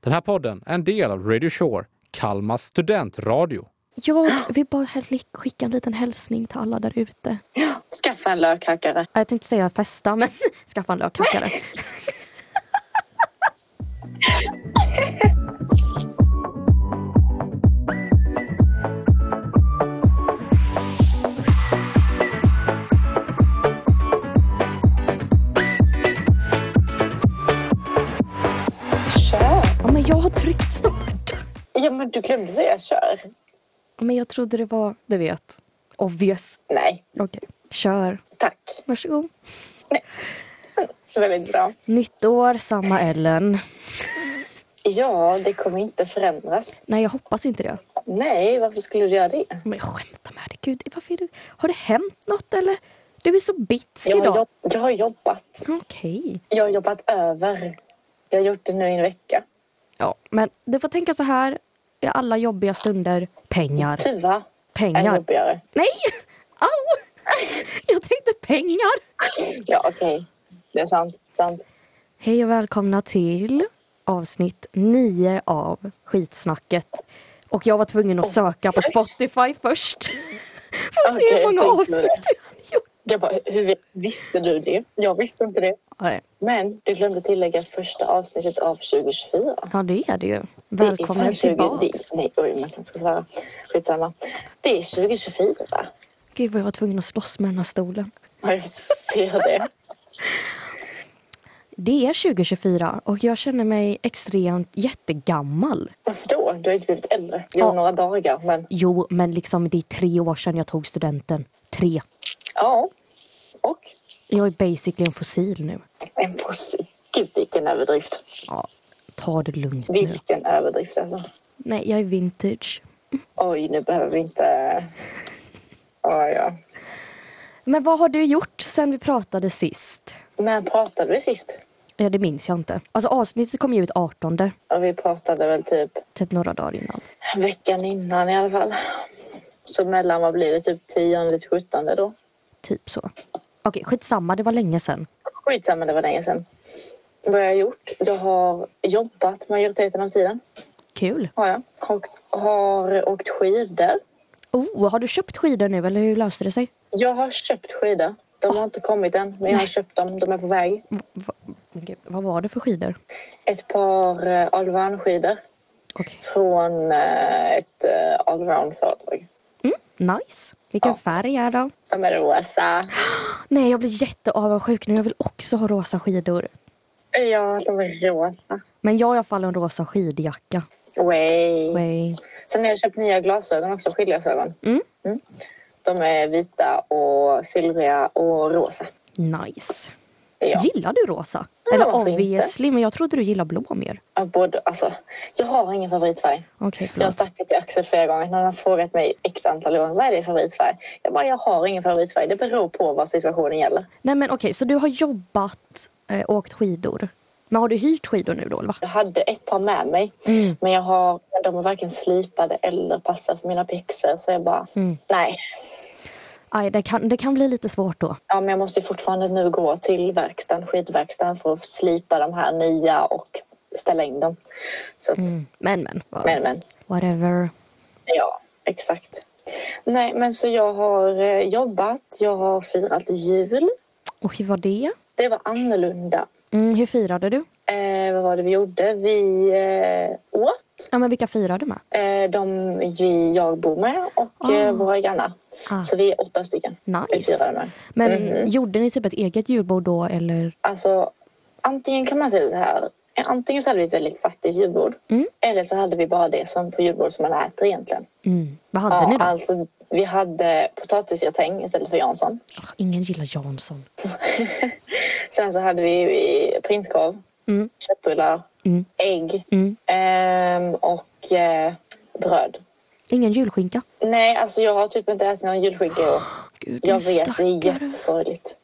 Den här podden är en del av Radio Shore, Kalmas studentradio. Jag vill bara häl- skicka en liten hälsning till alla där ute. Skaffa en lökhackare. Ja, Jag tänkte säga festa, men skaffa en lökhackare. Kör! Ja, men jag har tryckt start. Ja, men du glömde säga kör. Ja, Men jag trodde det var, du vet, obvious. Nej, Okej, kör. tack. Varsågod. Väldigt bra. Nytt år, samma Ellen. Ja, det kommer inte förändras. Nej, jag hoppas inte det. Nej, varför skulle du göra det? Men skämta med dig, gud. Varför är du... Har det hänt något eller? Du är så bitsk Jag har, idag. jobb, jag har jobbat. Okej. Jag har jobbat över. Jag har gjort det nu i en vecka. Ja, men du får tänka så här. I alla jobbiga stunder, pengar. Tuva är Pengar. jobbigare. Nej! Au! Jag tänkte pengar. Ja, okej. Det är sant. sant. Hej och välkomna till avsnitt 9 av Skitsnacket. Och jag var tvungen att söka på Spotify först. För att se Okej, hur många jag tänkte på det. avsnitt vi hade gjort. Jag bara, hur visste du det? Jag visste inte det. Nej, Men du glömde tillägga första avsnittet av 2024. Ja, det är det ju. Det är Välkommen fan 20 tillbaka. det- Nej, oj, man kanske ska svara. Skitsamma. Det är 2024. Gud vad jag var tvungen att slåss med den här stolen. Ja, jag ser det. Det är 2024 och jag känner mig extremt jättegammal. Varför då? Du har inte blivit äldre. Jo, Ja. några dagar, men Jo, men liksom det är tre år sedan jag tog studenten. Tre. ja. Och Jag är basically en fossil nu. en fossil. Gud, vilken överdrift. Ja, ta det lugnt nu. Vilken överdrift alltså. Nej, jag är vintage. Oj, nu behöver vi inte... Ja, ja. Men vad har du gjort sen vi pratade sist? När pratade vi sist? Ja, det minns jag inte. Alltså avsnittet kom ju ut 18, Ja, vi pratade väl typ typ några dagar innan. veckan innan i alla fall. Så mellan, vad blir det, typ 10 till 17 då? Typ så. Okej, skitsamma, det var länge sedan. Skitsamma, det var länge sedan. Vad jag har gjort? Jag har jobbat majoriteten av tiden. Kul. Har jag. Och har åkt skidor. Oh, har du köpt skidor nu eller hur löste det sig? Jag har köpt skidor. De har inte kommit än, men jag har köpt dem. De är på väg. Va, men gud, vad var det för skidor? Ett par eh, allround-skidor Okej. från eh, ett eh, allround-företag. Mm, Nice. Vilken Ja. färg är det? De är rosa. Nej, jag blir jätteavundsjuk nu. Jag vill också ha rosa skidor. Ja, de är rosa. Men jag har i alla fall en rosa skidjacka. Way. Way. Sen har jag köpt nya glasögon också, skidglasögon. Mm. Mm. De är vita och silvriga och rosa. Nice. Ja. Gillar du rosa? Ja, Eller varför inte? obviously, men jag trodde du gillar blå mer. Ja, Både, alltså, jag har ingen favoritfärg. Okej, Jag har förlåt. sagt det till Axel flera gånger när han har frågat mig x antal gånger vad är din favoritfärg? Jag bara, jag har ingen favoritfärg. Det beror på vad situationen gäller. Nej, men okej, så du har jobbat eh, och åkt skidor. Men har du hyrt skidor nu då, eller va? Jag hade ett par med mig, men jag har, de är varken slipade eller passar för mina pixlar. Så jag bara, nej. Aj, det kan, det kan bli lite svårt då. Ja, men jag måste ju fortfarande nu gå till verkstaden, skidverkstaden för att slipa de här nya och ställa in dem. Så att, Mm. Men, men. vad- men, men. Whatever. Ja, exakt. Nej, men så jag har eh, jobbat, jag har firat jul. Och hur var det? Det var annorlunda. Mm, hur firade du? Eh, vad var det vi gjorde? Vi eh, åt. Ja, men vilka firade du med? Eh, de vi, jag bor med och eh, våra grannar. Ah. Så vi är åtta stycken. Vi Nice. firade med. Mhm. Men gjorde ni typ ett eget julbord då, eller? Alltså, antingen kan man säga det här. Antingen så hade vi ett väldigt fattigt julbord. Mm. Eller så hade vi bara det som på julbord som man äter egentligen. Mm. Vad hade ni då? alltså, vi hade potatisgratäng istället för Jansson. Ah, Ingen gillar Jansson. Sen så hade vi eh, prinskorv, Mm. köttbullar, Mm. ägg Mm. ehm, och eh, bröd. Ingen julskinka. Nej, alltså jag har typ inte ätit någon julskinka i år. Gud, Jag din vet, det är stackare. mm. jättesorgligt.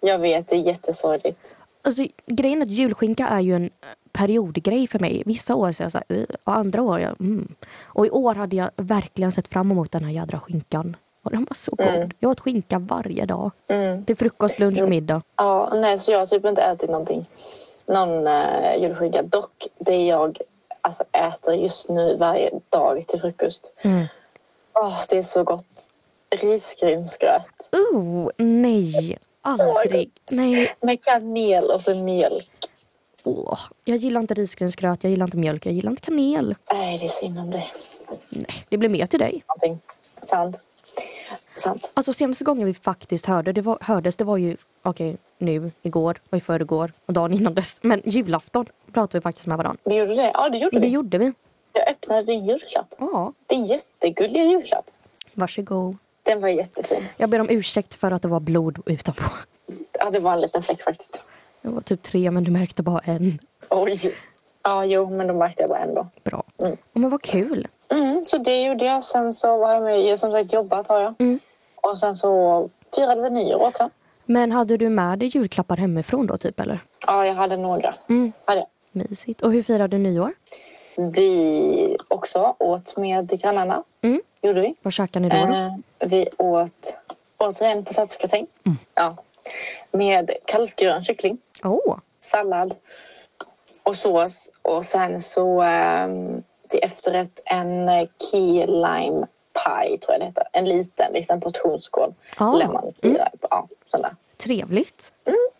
Jag vet, det är jättesorgligt. Alltså, grejen är att julskinka är ju en eh, periodgrej för mig. Vissa år så är jag så här, "Ugh", och andra år jag, mm. Och i år hade jag verkligen sett fram emot den här jädra skinkan. Och den var så god. Jag åt skinka varje dag. Mm. Till frukost, lunch och middag. Ja, nej, så jag har typ inte ätit någonting. någon eh, julskinka. Dock, det jag alltså, äter just nu varje dag till frukost. Mm. Åh, det är så gott. Risgrynsgröt Oh, nej. Aldrig. Nej. med kanel och så mjölk. Åh. Jag gillar inte risgrynsgröt, jag gillar inte mjölk, jag gillar inte kanel. Nej, det är synd om dig. Nej, det blir mer till dig. Någonting. Sant. Sant. Alltså senaste gången vi faktiskt hörde, det var, hördes, det var ju okej nu, igår och i förrgår och dagen innan dess. Men julafton pratade vi faktiskt med varandra. Vi gjorde det. Ja, det gjorde Det vi. gjorde vi. Jag öppnade din julklapp. Ja, Det är en jättegullig julklapp. varsågod. Den var jättefin. Jag ber om ursäkt för att det var blod utanpå. Ja, det var en liten fläck faktiskt. Det var typ tre men du märkte bara en. Oj. Ja, jo, men då märkte jag bara ändå. Bra. Mm. Men vad kul. Mm, så det gjorde jag. Sen så var jag med, jag har som sagt jobbat har jag. Mm. Och sen så firade vi nyår tror jag. Men hade du med dig julklappar hemifrån då typ eller? Ja, jag hade några. Mm. Hade jag. Mysigt. Och hur firade du nyår? Vi också åt med grannarna. Mm. Gjorde vi. Vad käkade ni då? då? Eh, vi åt återigen potatisgratäng. Ja. Med kallskuren kyckling, Åh, sallad och sås. Och sen så ehm, till efterrätt en eh, key lime pie tror jag det heter. En liten liksom, portionsskål. Ah. Lemon key lime. Ja, sån där. trevligt.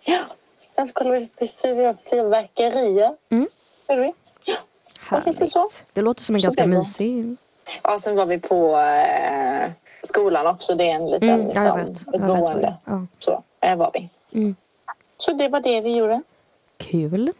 Ja. Sen så kollade vi på fyr- fyrverkerier. Mm. Gjorde vi. Ja. Vad finns det så? Det låter som en Så ganska det var- mysig... ja, sen var vi på eh, skolan också. Det är en liten Mm, ja, liksom, jag vet. ett Jag vet vad det boende. är. Ja. Så eh, var vi. Mm. Så det var det vi gjorde. Kul.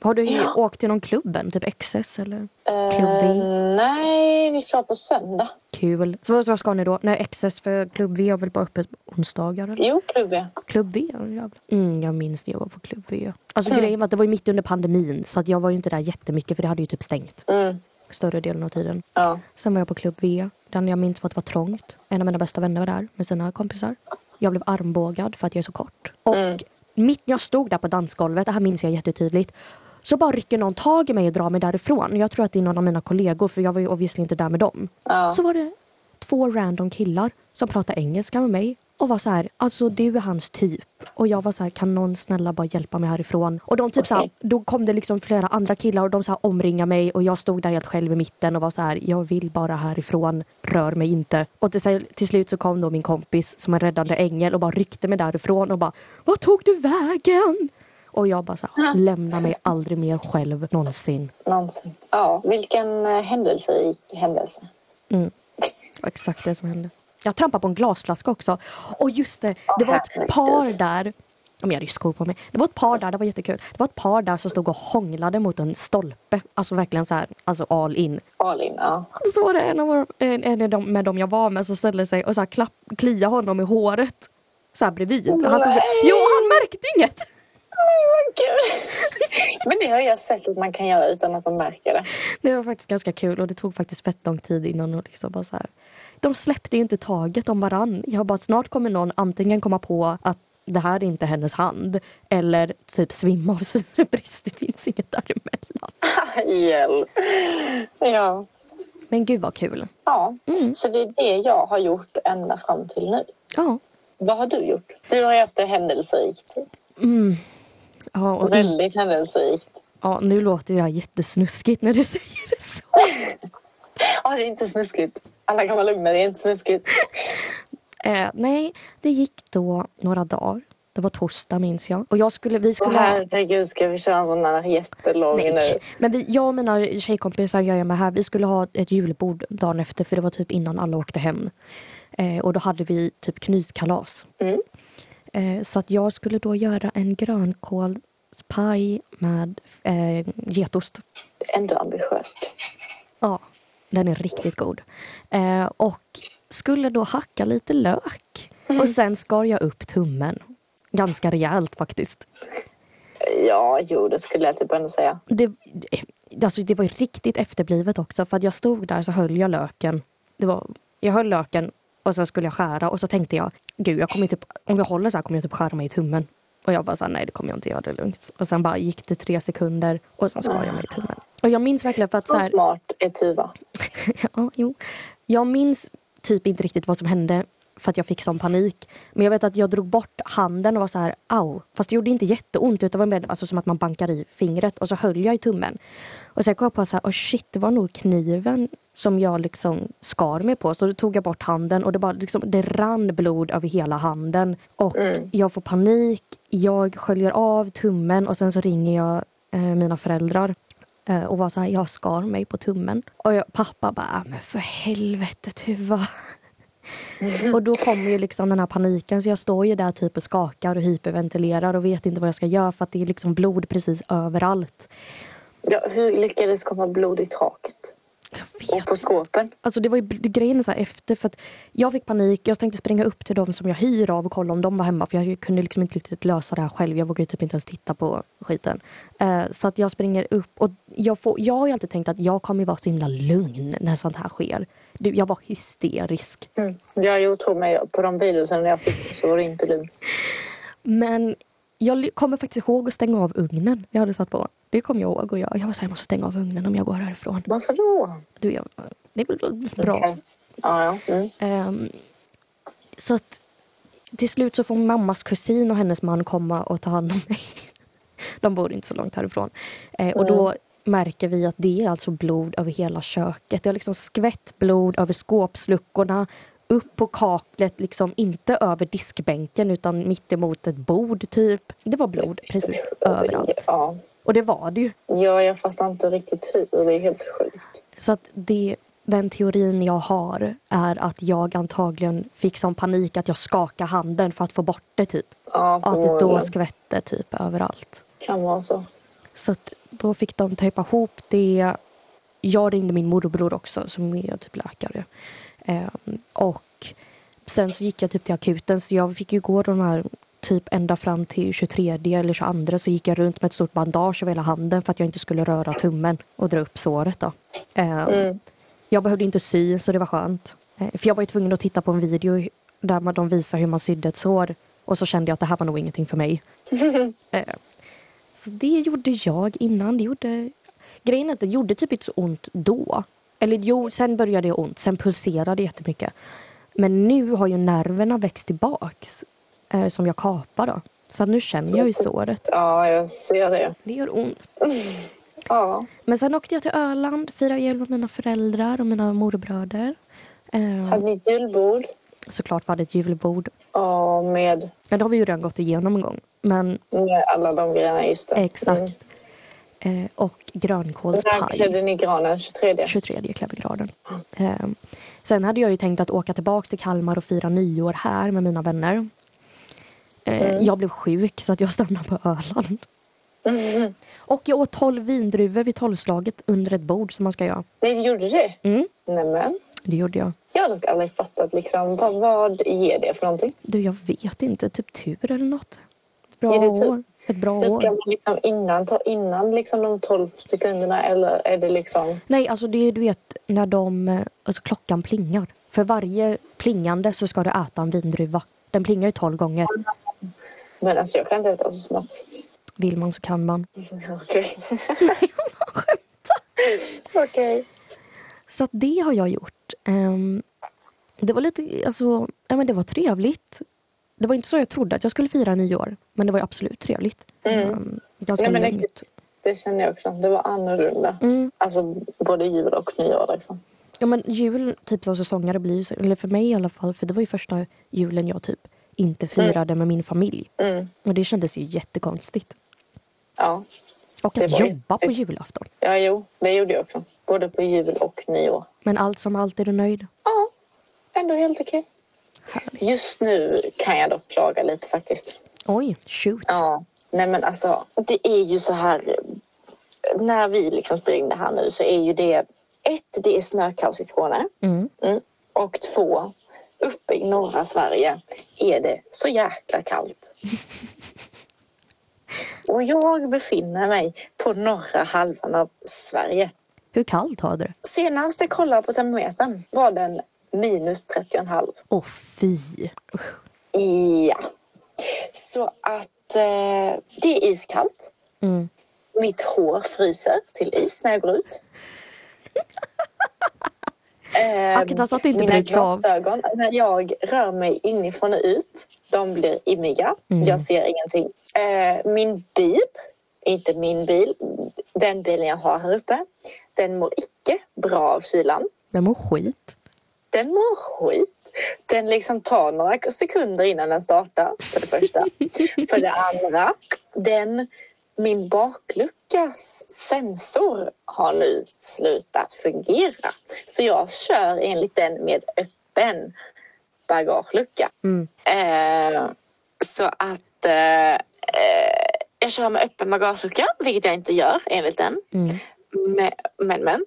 Har du Ja. åkt till någon klubb än? Typ XS eller? Eh, Klubb V? nej, vi ska på söndag. Kul. Så vad- så vad ska ni då? Nej, XS för Klubb V har väl bara öppet på onsdagar? Eller? Jo, klubb ja. Klubb V? ja, jävlar. Mm, jag minns när jag var på Klubb V. Alltså grejen var att det var ju mitt under pandemin så att jag var ju inte där jättemycket för det hade ju typ stängt Mm, större delen av tiden. ja. Sen var jag på Klubb V. Den jag minns var att det var trångt. En av mina bästa vänner var där med sina kompisar. Jag blev armbågad för att jag är så kort. Och mitt när jag stod där på dansgolvet, det här minns jag jättetydligt, så bara rycker någon tag i mig och drar mig därifrån. Jag tror att det är någon av mina kollegor för jag var ju obviously inte där med dem. Ja. Så var det två random killar som pratade engelska med mig och var så här, alltså du är hans typ. Och jag var så här, kan någon snälla bara hjälpa mig härifrån? Och de typ så här, Okej. då kom det liksom flera andra killar och de så här omringade mig och jag stod där helt själv i mitten och var så här, jag vill bara härifrån, rör mig inte. Och till, till slut så kom då min kompis som en räddande ängel och bara ryckte mig därifrån och bara, vad tog du vägen? Och jag bara så här, lämna mig aldrig mer själv någonsin. Någonsin. Ja, vilken eh, händelserik händelse. Det var exakt det som hände. Jag trampade på en glasflaska också. Och just det, det var ett herregud. par där. Ja, men Jag hade ju skor på mig. Det var ett par där, det var jättekul. Det var ett par där som stod och hånglade mot en stolpe. Alltså verkligen så här, alltså all in. Alin, ja. Och Så var det en, av våra, en, en av dem, med dem jag var med som ställde sig och så här klapp, klia honom i håret. Så här bredvid. Han stod, Nej. jo, han märkte inget! Åh, gud. Men det har jag sett att man kan göra utan att de märker det. Det var faktiskt ganska kul och det tog faktiskt fett lång tid innan och liksom bara så här. De släppte ju inte taget om varann. Jag bara snart kommer någon antingen komma på att det här är inte hennes hand eller typ svimma av syrebrist. Det finns inget däremellan. Hjälp. Ja. Men gud vad kul. ja. Mm. Så det är det jag har gjort ända fram till nu. Ja. Vad har du gjort? Du har ju haft det händelserikt. Ja, och in, Väldigt händelserikt. ja, nu låter ju det här jättesnuskigt när du säger det så. Ja, det är inte snuskigt. Alla kan vara lugna, det är inte snuskigt. Eh, nej, det gick då några dagar. Det var torsdag minns jag. Och jag skulle, vi Åh skulle... ha- herregud, ska vi köra en sån här jättelång Nej. nu? Men vi, jag och mina tjejkompisar jag är med här, vi skulle ha ett julbord dagen efter för det var typ innan alla åkte hem. Eh, och då hade vi typ knytkalas. Eh, så att jag skulle då göra en grönkålspaj med eh, getost. Ändå ambitiöst. Ja, den är riktigt god. Eh, och skulle då hacka lite lök. Och sen skar jag upp tummen. Ganska rejält faktiskt. Ja, jo, det skulle jag typ ändå säga. det, alltså det var ju riktigt efterblivet också. För att jag stod där så höll jag löken. Det var, jag höll löken och sen skulle jag skära och så tänkte jag, gud jag kommer ju typ, om jag håller så här kommer jag typ skära mig i tummen. Och jag bara så här, nej det kommer jag inte göra, det är lugnt. Och sen bara gick det tre sekunder och sen skar jag mig i tummen. Och jag minns verkligen för att så Så här, smart är Tuva. ja, jo. Jag minns typ inte riktigt vad som hände. för att jag fick sån panik. Men jag vet att jag drog bort handen och var så här, au. Fast det gjorde inte jätteont utan var mer alltså, som att man bankar i fingret och så höll jag i tummen. Och sen kom jag på att så här, oh shit, det var nog kniven som jag liksom skar mig på. Så då tog jag bort handen och det, bara, liksom, det rann blod över hela handen. Och jag får panik, jag sköljer av tummen och sen så ringer jag eh, mina föräldrar eh, och var så här, jag skar mig på tummen. Och jag, pappa bara, "Ah, men för helvete Tuva. Och då kommer ju liksom den här paniken så jag står ju där typ och skakar och hyperventilerar och vet inte vad jag ska göra för att det är liksom blod precis överallt. Ja, hur lyckades komma blod i taket? Jag Och vet på skåpen? Alltså det var ju det- grejen är så här efter för att jag fick panik. Jag tänkte springa upp till dem som jag hyr av och kolla om de var hemma för jag kunde liksom inte riktigt lösa det här själv. Jag vågade ju typ inte ens titta på skiten. Eh, så att jag springer upp och jag, får, jag har ju alltid tänkt att jag kommer vara så himla lugn när sånt här sker. Du, jag var hysterisk. Mm. Jag jo, tog mig på de virusen jag fick så var det inte lugnt. Men jag ly- kommer faktiskt ihåg att stänga av ugnen jag hade satt på. Det kommer jag ihåg och jag, jag var så här, jag måste stänga av ugnen om jag går härifrån. Varför då? Du, jag, det blir bra. Okej. Ja, ja. Mm. Ehm, så att till slut så får mammas kusin och hennes man komma och ta hand om mig. De bor inte så långt härifrån. Eh, och då märker vi att det är alltså blod över hela köket. Det har liksom skvätt blod över skåpsluckorna, upp på kaklet, liksom inte över diskbänken utan mitt emot ett bord typ. Det var blod precis överallt. Ja. Och det var det ju. ja, jag fattar inte riktigt hur. Det är helt sjukt. Så att det, den teorin jag har är att jag antagligen fick sån panik att jag skakade handen för att få bort det typ. Ja, Och att det då förmodligen. skvätte typ överallt. kan vara så. Så att då fick de tejpa ihop det. Jag ringde min morbror också som är typ läkare. Ehm, och sen så gick jag typ till akuten så jag fick ju gå de här typ ända fram till 23 eller 22 så gick jag runt med ett stort bandage över hela handen för att jag inte skulle röra tummen och dra upp såret då. Ehm, Jag behövde inte sy så det var skönt. Eh, För jag var ju tvungen att titta på en video där man, de visar hur man sydde ett sår och så kände jag att det här var nog ingenting för mig. Eh, så det gjorde jag innan. Det gjorde... Grejen är att det gjorde typ inte så ont då. Eller jo, sen började det ont. Sen pulserade det jättemycket. Men nu har ju nerverna växt tillbaks eh, som jag kapar då. Så att nu känner jag ju såret. Ja, jag ser det. Det gör ont. Ja. Men sen åkte jag till Öland, firade jul med mina föräldrar och mina morbröder. Eh, Hade ni ett julbord? såklart var det ett julbord. Ja, med, Ja, det har vi ju redan gått igenom en gång. Men med alla de grejerna. Just det. Mm. exakt. Eh, och När grönkålspaj. klädde ni granen? 23? 23 Klövergraden. Eh, sen hade jag ju tänkt att åka tillbaka till Kalmar och fira nyår här med mina vänner. Eh, Mm. Jag blev sjuk så att jag stannade på Öland. Och jag åt 12 vindruvor vid tolvslaget under ett bord som man ska göra. Ni gjorde det? Mm. Nämen. Det gjorde jag. Jag har dock aldrig fattat liksom, vad, vad ger det för någonting. Du, jag vet inte. Typ tur eller något. Ett bra Är det tur? år. Ett bra Hur ska år. man liksom innan, ta innan liksom de 12 sekunderna eller är det liksom... Nej, alltså det är du vet när de, eh, alltså klockan plingar. För varje plingande så ska du äta en vindruva. Den plingar ju 12 gånger. Men alltså jag kan inte äta så snabbt. Vill man så kan man. Okej. Okej. Så att det har jag gjort. Ehm, det var lite, alltså, ja, men det var trevligt. Det var inte så jag trodde att jag skulle fira nyår, men det var ju absolut trevligt. Ehm, ganska Nej, Mm. men det- lugnt. Det känner jag också. Det var annorlunda. Alltså både jul och nyår liksom. Ja, men jul, typ som säsongare, blir ju så, eller för mig i alla fall, för det var ju första julen jag typ inte Mm. firade med min familj. Och det kändes ju jättekonstigt. Ja. Och Det att var ju- jobba på julafton. ja, jo, det gjorde jag också. Både på jul och nyår. Men allt som allt är du nöjd. Ja, ändå helt okej. Just nu kan jag dock klaga lite faktiskt. Oj, shoot. Ja, nej men alltså det är ju så här. När vi liksom spelar in det här nu så är ju det ett, det är snökaos i Skåne. Mm. Och två, uppe i norra Sverige är det så jäkla kallt. Och jag befinner mig på norra halvan av Sverige. Hur kallt har du det? Senast jag kollade på termometern var den minus 30,5. Åh, fy. Usch. Ja. Så att eh, det är iskallt. Mm. Mitt hår fryser till is när jag går ut. Eh, Akta så att det inte mina bryts av. glasögon, när jag rör mig inifrån och ut, de blir immiga. Mm. Jag ser ingenting. Eh, min bil, inte min bil, den bilen jag har här uppe, den mår icke bra av kylan. Den mår skit. Den mår skit. Den liksom tar några sekunder innan den startar, för det första. för det andra, den, min bakluckas sensor har nu slutat fungera. Så jag kör enligt den med öppen bagagelucka. Eh, så att eh, eh, jag kör med öppen bagagelucka, vilket jag inte gör enligt den. Men, men, men.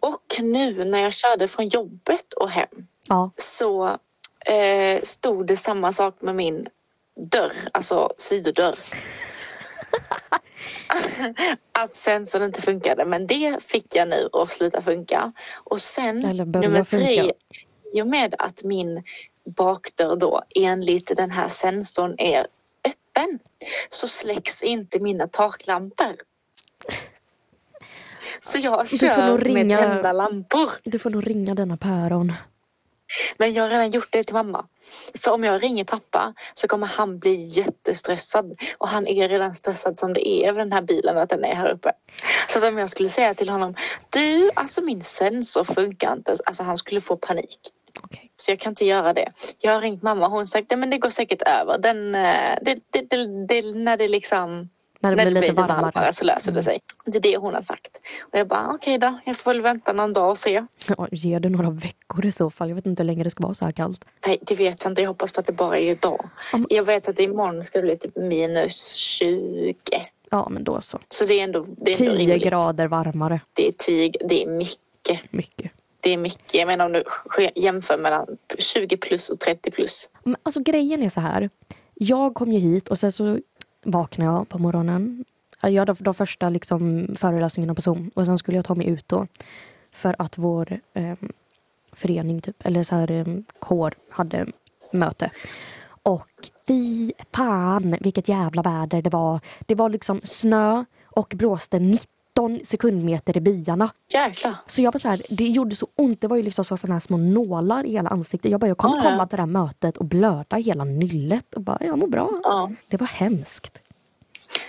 Och nu när jag körde från jobbet och hem Ja. så eh, stod det samma sak med min dörr, alltså sidodörr. att sensorn inte funkade, men det fick jag nu att sluta funka. Och sen Eller börja nummer tre, funka. i och med att min bakdörr då enligt den här sensorn är öppen så släcks inte mina taklampor. Så jag Du får kör nog med ringa- tända lampor. Du får nog ringa denna päron. Men jag har redan gjort det till mamma. För om jag ringer pappa så kommer han bli jättestressad. Och han är redan stressad som det är över den här bilen och att den är här uppe. Så att om jag skulle säga till honom, du, alltså min sensor funkar inte. Alltså han skulle få panik. Okej. Så jag kan inte göra det. Jag har ringt mamma och hon har sagt, nej men det går säkert över. Den, eh, det, det, det, det, när det liksom... När det blir lite varmare. Mm. så löser det sig. Det är det hon har sagt. Och jag bara, "Ah, okej då, jag får väl vänta någon dag och se. Ja, ge det några veckor i så fall. Jag vet inte hur länge det ska vara så här kallt. Nej, det vet jag inte. Jag hoppas på att det bara är idag. Om- Jag vet att imorgon ska det bli typ minus 20. Ja, men då så. Så det är ändå, det är ändå 10 rimligt. grader varmare. Det är 10, det är mycket. Mycket. Det är mycket. Jag menar om du sk- jämför mellan 20 plus och 30 plus. Men alltså grejen är så här. Jag kom ju hit och sen så vaknade jag på morgonen. Jag hade de första liksom föreläsningarna på Zoom och sen skulle jag ta mig ut då. För att vår eh, förening, typ, eller så här, eh, kår, hade möte. Och fy fan vilket jävla väder det var. Det var liksom snö och blåste 19 sekundmeter i byarna. Jäklar. Så jag var så här, det gjorde så ont. Det var ju liksom så såna här små nålar i hela ansiktet. Jag bara, jag kommer Ja, ja. komma till det här mötet och blöda i hela nyllet. Och bara, jag mår bra. Ja. Det var hemskt.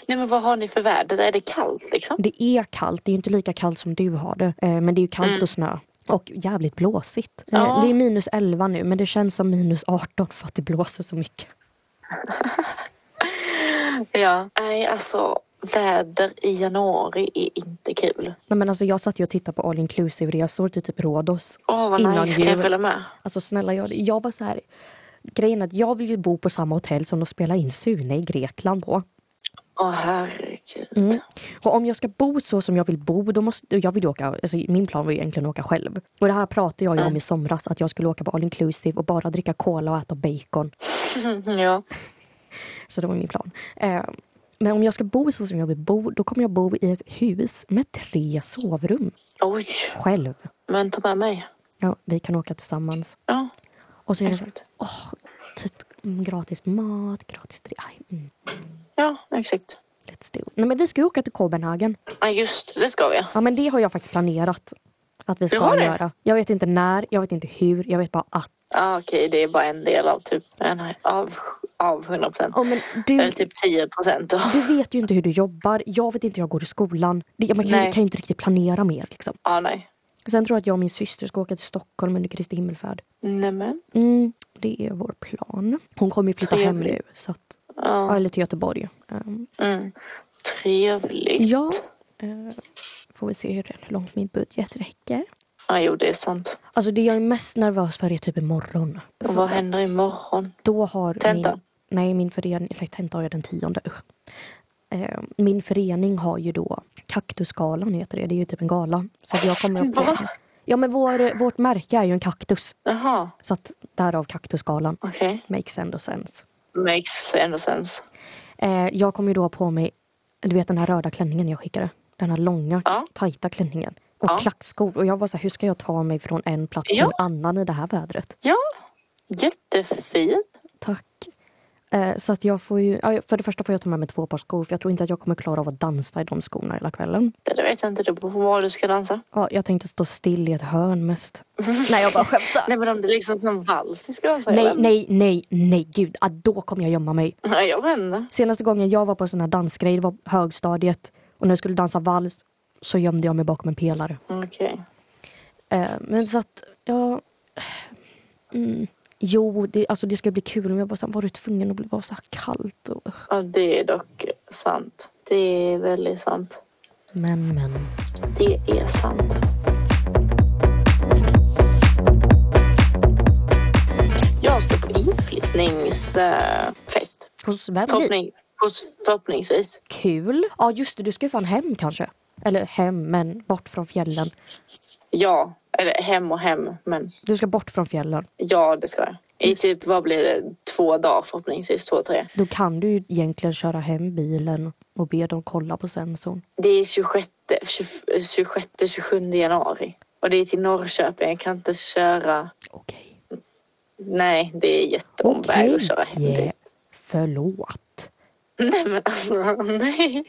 Nej, men vad har ni för väder? Är det kallt liksom? Det är kallt. Det är ju inte lika kallt som du har det. Eh, Men det är ju kallt och snö. Och jävligt blåsigt. Eh, Mm. Ja. Det är minus 11 nu men det känns som minus 18 för att det blåser så mycket. Ja. Nej, alltså väder i januari är inte kul. Nej, men alltså, jag satt ju och tittade på all inclusive resor till typ Rhodos. Åh, vad Innan nice. Kan jag jul. följa med? Alltså snälla, jag, jag var så här... Grejen är att jag vill ju bo på samma hotell som de spelar in Sune i Grekland på. Åh, herregud. Mm. Och om jag ska bo så som jag vill bo, då måste, jag vill ju åka, alltså min plan var ju egentligen att åka själv. Och det här pratade jag ju om i somras, att jag skulle åka på all inclusive och bara dricka cola och äta bacon. Mhm, Ja. Så det var min plan. Eh, men om jag ska bo så som jag vill bo, då kommer jag bo i ett hus med tre sovrum. Oj, Själv. men ta med mig. Ja, vi kan åka tillsammans. Ja. Och så är det så här, åh, typ mm, gratis mat, gratis dri- aj, mm, Ja, exakt. let's do. Nej men vi ska ju åka till Kopenhagen. Ja, just det, det ska vi. Ja men det har jag faktiskt planerat. Att vi har ska det? göra. Jag vet inte när, jag vet inte hur, jag vet bara att. Ja, okej, det är bara en del av typ en, av, av 100 procent. Ja, men du, Eller typ 10 procent. du vet ju inte hur du jobbar, jag vet inte hur jag går i skolan. Det, man kan, ju- Nej. kan ju inte riktigt planera mer. Liksom. Ja, nej. Sen tror jag att jag och min syster ska åka till Stockholm under Kristi himmelfärd. Nämen. Mm, det är vår plan. Hon kommer ju flytta hem nu. Trevligt. Så att, ja, Ja. eller till Göteborg. Ehm, Mm. Trevligt. ja, eh, får vi se hur hur långt min budget räcker. Ja, jo, det är sant. Alltså det jag är mest nervös för är typ imorgon. Och vad händer imorgon? Då har Tenta? Min, nej, min förening, nej, tenta har jag den tionde. usch. Eh, min förening har ju då Kaktusgalan heter det. Det är ju typ en gala. Så att jag kommer upp Va? Ja men vår, vårt märke är ju en kaktus. Jaha, Så att därav Kaktusgalan. okej. Makes ändå sense. Makes ändå sens. Eh, jag kommer ju då ha på mig, du vet den här röda klänningen jag skickade. Den här långa, Ja. tajta klänningen. Och Ja. klackskor. Och jag var så här, hur ska jag ta mig från en plats till Ja. en annan i det här vädret? Ja, jättefin. Tack. Eh, Så att jag får ju, ja, för det första får jag ta med mig två par skor för jag tror inte att jag kommer klara av att dansa i de skorna hela kvällen. Det vet jag inte. Det beror på var du ska dansa. Ja, jag tänkte stå still i ett hörn mest. nej, jag bara skämtar. Nej men om det är liksom som vals ni ska dansa Nej, eller? nej, nej, nej, gud. Ah, då kommer jag gömma mig. Nej, jag vet inte. Senaste gången jag var på en sån här dansgrej, det var högstadiet. Och när jag skulle dansa vals så gömde jag mig bakom en pelare. Okej. Eh, men så att, ja... Mm, jo, det, alltså det ska bli kul. Men jag bara, så här, var du tvungen att bli- vara så här kallt? Och, Ja, det är dock sant. Det är väldigt sant. men, men. Det är sant. Jag ska på inflyttningsfest. Hos vem? Förhoppning, hos- förhoppningsvis. Kul. Ja, just det. Du ska ju fan hem kanske. Eller hem, men bort från fjällen. Ja, eller hem och hem. Men Du ska bort från fjällen. ja, det ska jag. I typ, vad blir det? Två dagar förhoppningsvis. Två, tre. Då kan du ju egentligen köra hem bilen och be dem kolla på sensorn. Det är 26, 26, 27 januari. Och det är till Norrköping. Jag kan inte köra. Okej. Nej, det är jättelång väg Okej. att köra hem Yeah. dit. Förlåt. Nej, men alltså nej.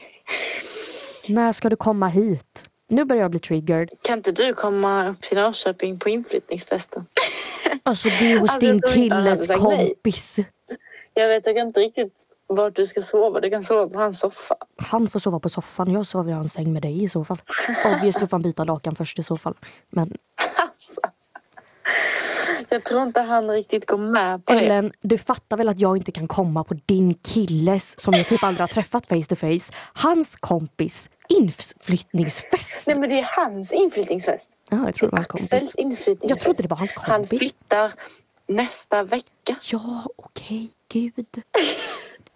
När ska du komma hit? Nu börjar jag bli triggered. Kan inte du komma upp till Norrköping på inflyttningsfesten? Alltså du och Alltså, din jag tror inte han hade killes sagt nej. kompis. Jag vet jag kan inte riktigt vart du ska sova. Du kan sova på hans soffa. Han får sova på soffan, jag sover i hans säng med dig i så fall. Obviously får han byta lakan först i så fall. Men Alltså. Jag tror inte han riktigt går med på det. Ellen, du fattar väl att jag inte kan komma på din killes, som jag typ aldrig har träffat face to face, hans kompis inflyttningsfest? Nej men det är hans inflyttningsfest. Ja, jag tror det var hans Axels kompis. inflyttningsfest. Jag trodde det var hans Han kompis. flyttar nästa vecka. Ja, okej, gud.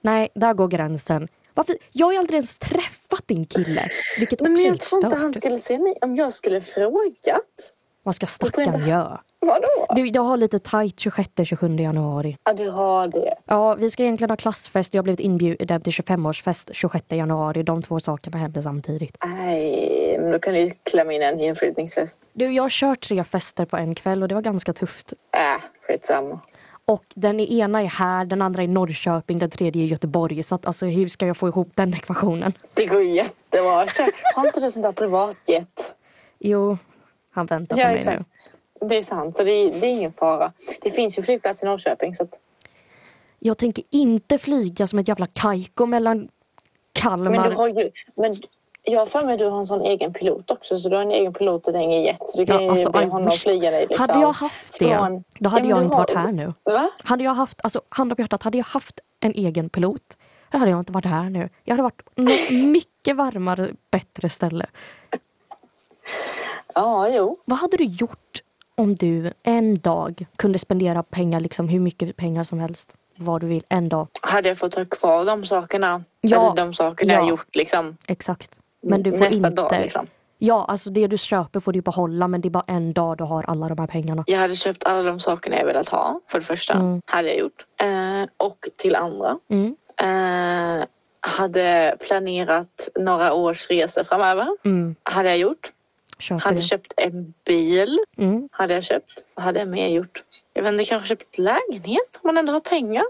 Nej, där går gränsen. Varför? Jag har ju aldrig ens träffat din kille, vilket också Men är jag lite tror inte stört. han skulle säga nej om jag skulle frågat. Vad ska tror inte stackaren han- göra? Vadå? Du, jag har lite tajt 26-27 januari. Ja, du har det. Ja, vi ska egentligen ha klassfest. Jag har blivit inbjuden till 25-årsfest 26 januari. De två sakerna händer samtidigt. Nej, men då kan du ju klämma in en inflyttningsfest. Du, jag har kört tre fester på en kväll och det var ganska tufft. Äh, skitsamma. Och den ena är här, den andra är i Norrköping, den tredje är i Göteborg. Så att, alltså, hur ska jag få ihop den ekvationen? Det går jättebra. Kör. Har inte du sån där privatjet? Jo, han väntar på Ja, mig exakt. nu. Det är sant, så det är, det är ingen fara. Det finns ju flygplats i Norrköping. Så att, Jag tänker inte flyga som ett jävla kajko mellan Kalmar... men du har ju... Men jag har för mig att du har en sån egen pilot också. Så du har en egen pilot och det är ingen jet. Så du kan Ja, alltså, ju be aj, honom usch. flyga dig. Liksom, Hade jag haft det, från- då hade Ja, men jag du inte har- varit här nu. Va? Hade jag haft, alltså handen på hjärtat, hade jag haft en egen pilot, då hade jag inte varit här nu. Jag hade varit något mycket varmare, bättre ställe. Ja, jo. Vad hade du gjort om du en dag kunde spendera pengar, liksom hur mycket pengar som helst, vad du vill, en dag? Hade jag fått ha kvar de sakerna? Ja. Eller de sakerna Ja. jag gjort liksom? Exakt. Men du får Nästa inte... dag, liksom. Ja, alltså det du köper får du behålla men det är bara en dag du har alla de här pengarna. Jag hade köpt alla de sakerna jag velat ha, för det första. Hade jag gjort. Eh, och till andra. Eh, hade planerat några års resor framöver. Hade jag gjort. Köper Hade det. köpt en bil. Mm. Hade jag köpt. Vad hade jag mer gjort? Jag vet inte, kanske köpt lägenhet om man ändå har pengar.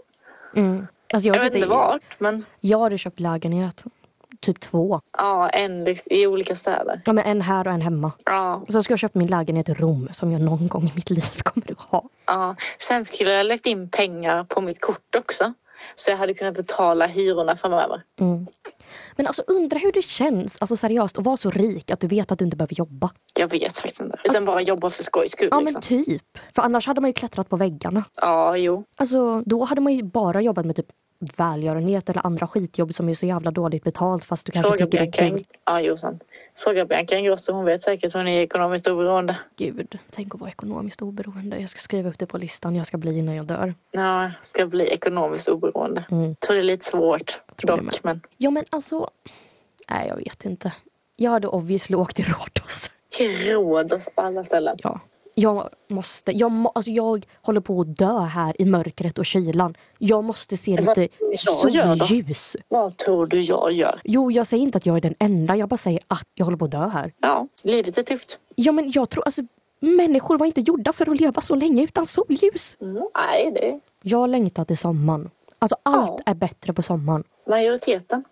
Mm. Alltså jag, Jag hade vet inte vart, men jag hade köpt lägenhet. Typ två. ja, en likt- i olika städer. Ja, men en här och en hemma. Ja, Sen ska jag köpa min lägenhet i Rom som jag någon gång i mitt liv kommer att ha. ja. Sen skulle jag lagt in pengar på mitt kort också. Så jag hade kunnat betala hyrorna framöver. Men alltså undra hur det känns, alltså seriöst, att vara så rik att du vet att du inte behöver jobba. Jag vet faktiskt inte. Utan bara jobba för skojs skull. Ja men liksom. typ. För annars hade man ju klättrat på väggarna. ja, jo. Alltså då hade man ju bara jobbat med typ välgörenhet eller andra skitjobb som är så jävla dåligt betalt fast du kanske Fråga tycker det Bianca. är kul. Eng- Ja, jo, sant. Fråga Bianca Ingrosso. Hon vet säkert hon är ekonomiskt oberoende. Gud, tänk att vara ekonomiskt oberoende. Jag ska skriva upp det på listan jag ska bli innan jag dör. Ja, ska bli ekonomiskt oberoende. Mm. Tror det är lite svårt Tror det dock. med. Men Ja men alltså, nej jag vet inte. Jag hade obviously åkt till Rhodos. till Rhodos på alla ställen. Ja. Jag måste, jag, må, alltså jag håller på att dö här i mörkret och kylan. Jag måste se vad lite jag gör då? solljus. Vad tror du jag gör? Jo, jag säger inte att jag är den enda. Jag bara säger att jag håller på att dö här. Ja, livet är tufft. Ja, men jag tror alltså människor var inte gjorda för att leva så länge utan solljus. Mm, nej, det... Jag längtar till sommaren. Alltså allt är bättre på sommaren. Majoriteten.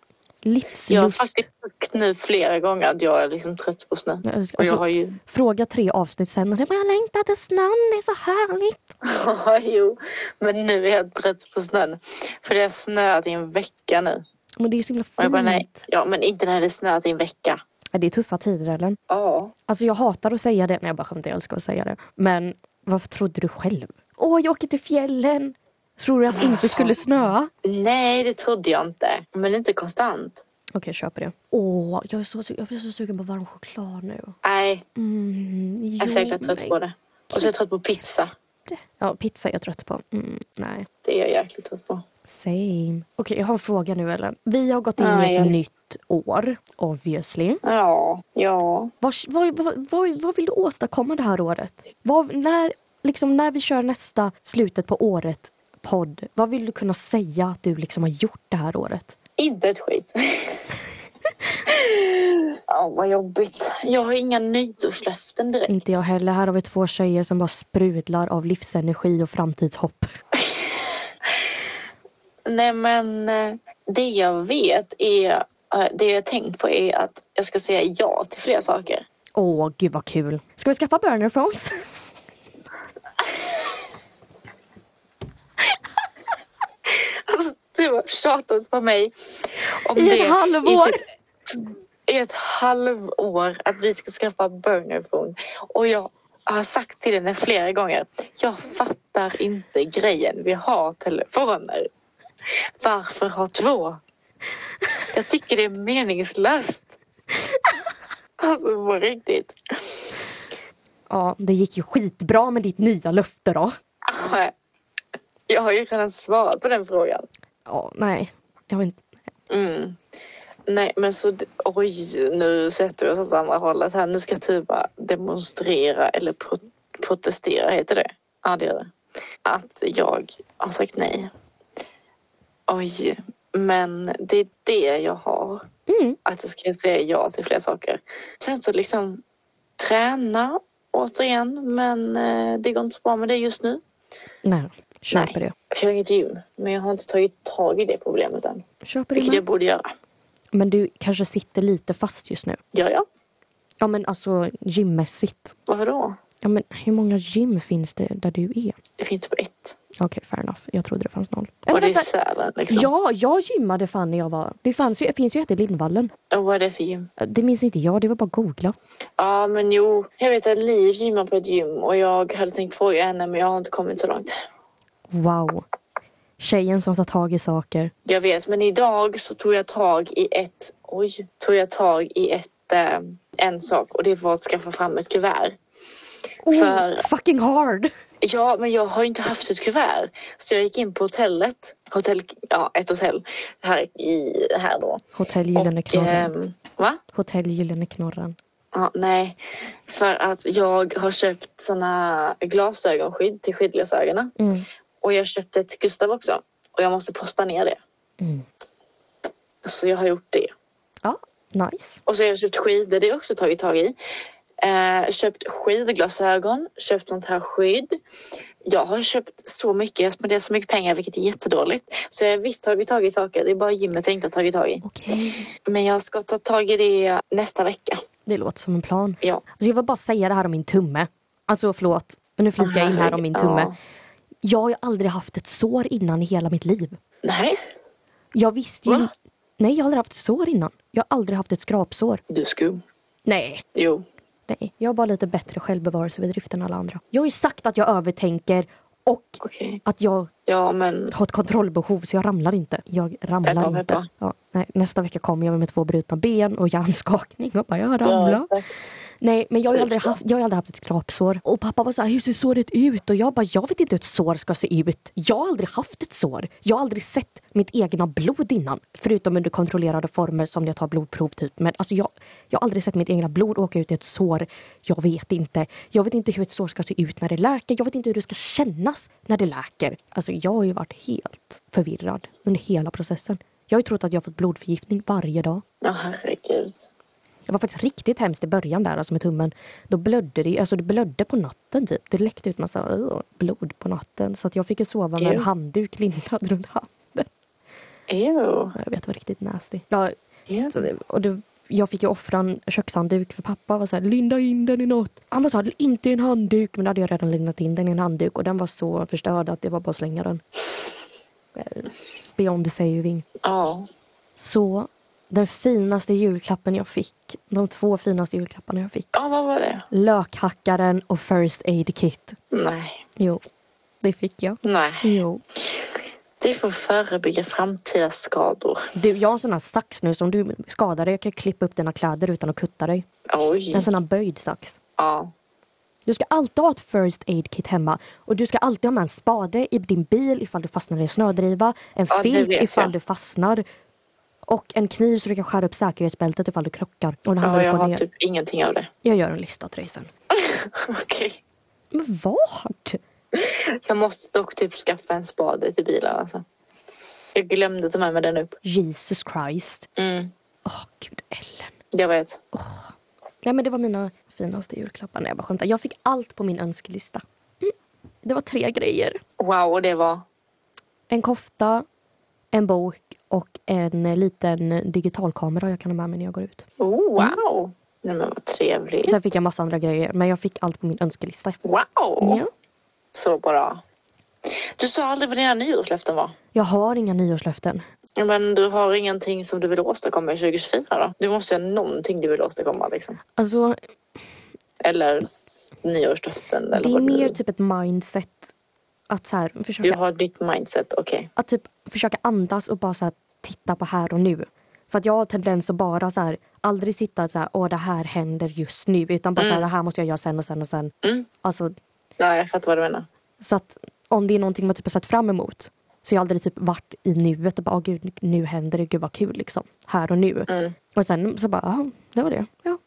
Jag har Livslust. faktiskt sagt nu flera gånger att jag är liksom trött på snö. Jag älskar- Och jag alltså- har ju... Fråga tre avsnitt sen. och det är bara, Jag längtar till snön, det är så härligt. Ja, jo. Men nu är jag trött på snön. För det har snöat i en vecka nu. Men det är ju så himla Och jag bara, nej. fint. Ja, men inte när det snöat i en vecka. Ja, det är tuffa tider eller? Ja. Alltså jag hatar att säga det. Nej jag bara skämtar, jag älskar att säga det. Men varför trodde du själv? Åh, jag åker till fjällen. Tror du att det inte skulle snöa? Nej, det trodde jag inte. Men inte konstant. Okej, jag köper det. Åh, jag, är så, su- jag blir så sugen på varm choklad nu. Nej, alltså, Mm, jo, jag är säkert trött på det. Och så är jag trött på pizza. Ja, pizza är jag trött på. Mm, nej. Det är jag jäkligt trött på. Same. Okej, jag har en fråga nu Ellen. Vi har gått in Ja, i ett ja. nytt år, obviously. Ja, ja. Vad, vad, vad, vad, vad vill du åstadkomma det här året? Vad, när, liksom, när vi kör nästa slutet på året podd, vad vill du kunna säga att du liksom har gjort det här året? Inte ett skit. Ja, vad jobbigt. Jag har inga nyårslöften direkt. Inte jag heller. Här har vi två tjejer som bara sprudlar av livsenergi och framtidshopp. Nej, men eh, det jag vet är... eh, Det jag har tänkt på är att jag ska säga ja till fler saker. Åh, gud vad kul. Ska vi skaffa burner phones? Alltså, du har tjatat på mig om I det ett halvår. I, typ, I ett halvår att vi ska skaffa burnerphone. Och jag har sagt till henne flera gånger. Jag fattar inte grejen. Vi har telefoner. Varför ha två? Jag tycker det är meningslöst. Alltså på riktigt. Ja, det gick ju skitbra med ditt nya löfte då. Jag har ju redan svarat på den frågan. Ja, nej. Jag har inte... Mm. Nej, men så... Oj, nu sätter vi oss åt andra hållet här. Nu ska jag typ bara demonstrera eller pro protestera, heter det? Ja, det gör det. Att jag har sagt nej. Oj, men det är det jag har. Mm. Att jag ska säga ja till fler saker. Sen så liksom träna återigen, men eh, det går inte så bra med det just nu. Nej, köper Nej. det. Jag kör inget gym, men jag har inte tagit tag i det problemet än. Köper det. Vilket jag med. borde göra. Men du kanske sitter lite fast just nu. Gör jag? Ja, men alltså gymmässigt. Varför då? Ja, men hur många gym finns det där du är? Det finns typ ett. Okej, fair enough. Jag trodde det fanns noll. Och Eller det är vänta. Sälen liksom. Ja, jag gymmade fan när jag var... Det fanns ju, finns ju ett i Lindvallen. Äh, Och vad är det för gym? Det minns inte jag, det var bara att googla. Ja men jo. Jag vet att Liv gymmar på ett gym och jag hade tänkt fråga henne men jag har inte kommit så långt. Wow. Tjejen som tar tag i saker. Jag vet men idag så tog jag tag i ett, oj, tog jag tag i ett, eh, en sak och det var att skaffa fram ett kuvert. Oh, För- Fucking hard! Ja, men jag har ju inte haft ett kuvert. Så jag gick in på hotellet. Hotell, ja, ett hotell här, i, här då. Hotell Gyllene Knorren. ehm, va? Hotell Gyllene Knorren. Ja, nej, för att jag har köpt såna glasögonskydd till skidglasögonen. Mm. Och jag köpte till Gustav också. Och jag måste posta ner det. Mm. Så jag har gjort det. Ja, nice. Och så har jag köpt skidor, det har jag också tagit tag i. Eh, köpt skidglasögon, köpt sånt här skydd. Jag har köpt så mycket, jag spenderar så mycket pengar vilket är jättedåligt. Så jag har visst tagit tag i saker, det är bara gymmet jag inte har tagit tag i. Okej. Men jag ska ta tag i det nästa vecka. Det låter som en plan. Ja. Alltså jag vill bara säga det här om min tumme. Alltså förlåt, men nu flikar jag in här om min tumme. Ja. Jag har ju aldrig haft ett sår innan i hela mitt liv. Nej, Jag visste ju... Va? Nej, jag har aldrig haft ett sår innan. Jag har aldrig haft ett skrapsår. du är skum. Nej, Jo. nej. Jag har bara lite bättre självbevarelsedrift än alla andra. Jag har ju sagt att jag övertänker och Okej. att jag Ja, men har ett kontrollbehov så jag ramlar inte. Jag ramlar Peppar, inte. peppar. Ja, nej, nästa vecka kommer jag med två brutna ben och hjärnskakning och bara jag ramlar. Nej, men jag har, ju aldrig haft, jag har ju aldrig haft ett skrapsår. Och pappa var så här, hur ser såret ut? Och jag bara, jag vet inte hur ett sår ska se ut. Jag har aldrig haft ett sår. Jag har aldrig sett mitt egna blod innan. Förutom under kontrollerade former som när jag tar blodprov typ. Men alltså jag, jag har aldrig sett mitt egna blod åka ut i ett sår. Jag vet inte. Jag vet inte hur ett sår ska se ut när det läker. Jag vet inte hur det ska kännas när det läker. Alltså jag har ju varit helt förvirrad under hela processen. Jag har ju trott att jag har fått blodförgiftning varje dag. Ja, herregud. Det var faktiskt riktigt hemskt i början där, alltså med tummen. Då blödde det, ju- alltså det blödde på natten typ. Det läckte ut massa öh, blod på natten. Så att jag fick ju sova med en Ew. handduk lindad runt handen. Ew. Jag vet, det var riktigt nasty. Ja, Ja. så det, och det, jag fick ju offra en kökshandduk för pappa var så här, linda in den i något. Han var så här, inte i en handduk. Men då hade jag redan lindat in den i en handduk och den var så förstörd att det var bara att slänga den. Eh, Beyond saving. Ja. Så den finaste julklappen jag fick, de två finaste julklapparna jag fick, Ja, vad var det? lökhackaren och first aid kit. Nej. Jo, det fick jag. Nej. Jo. Det får förebygga framtida skador. Du, jag har en sån här sax nu som du skadade. Jag kan klippa upp dina kläder utan att kutta dig. Oj. En sån här böjd sax. Ja. Du ska alltid ha ett first aid kit hemma och du ska alltid ha med en spade i din bil ifall du fastnar i en snödriva, en Ja, det filt vet ifall jag. du fastnar och en kniv så du kan skära upp säkerhetsbältet ifall du krockar. Och det handlar ja jag upp och har ner. typ ingenting av det. jag gör en lista till dig sen. Okej. Men vad? Jag måste dock typ skaffa en spade till bilen alltså. Jag glömde ta med mig den upp. Jesus Christ. Mm. Åh, gud Ellen. Jag vet. Nej men det var mina finaste julklappar. Nej jag bara skämtar. Jag fick allt på min önskelista. Mm. Det var tre grejer. Wow, och det var... En kofta, en bok och en eh, liten digitalkamera jag kan ha med mig när jag går ut. Oh, wow! Nej men vad trevligt. Sen fick jag massa andra grejer men jag fick allt på min önskelista. Wow! Ja. Så bra. Du sa aldrig vad dina nyårslöften var. Jag har inga nyårslöften. Ja, Men du har ingenting som du vill åstadkomma i 2024 då? Du måste ju ha någonting du vill åstadkomma liksom. Alltså Eller s- nyårslöften eller det är vad mer du... typ ett mindset att, så här, Du försöka, har ett nytt mindset, okej. att typ, försöka andas och bara så här, titta på här och nu. För att jag har tendens att bara så här, aldrig sitta så här, åh det här händer just nu. Utan bara så här, det här måste jag göra sen och sen och sen. Mm. Alltså, Ja, jag fattar vad du menar. Så att om det är någonting man typ har sett fram emot så har jag aldrig typ varit i nuet och bara, åh gud, nu händer det, gud vad kul liksom. Här och nu. Mm. Och sen så bara, jaha, det var det. Ja.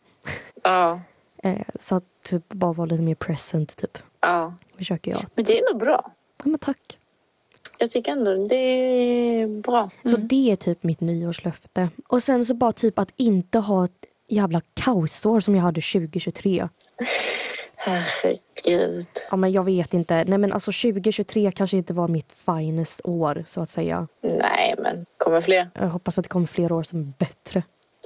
Ja, Eh, så att typ bara vara lite mer present typ. ja. Försöker jag. Men det är nog bra. Ja men tack. Jag tycker ändå det är bra. Så det är typ mitt nyårslöfte. Och sen så bara typ att inte ha ett jävla kaosår som jag hade 2023. Herregud. Ja men jag vet inte. Nej men alltså 2023 kanske inte var mitt finest år så att säga. Nej, men kommer fler? Jag hoppas att det kommer fler år som är bättre.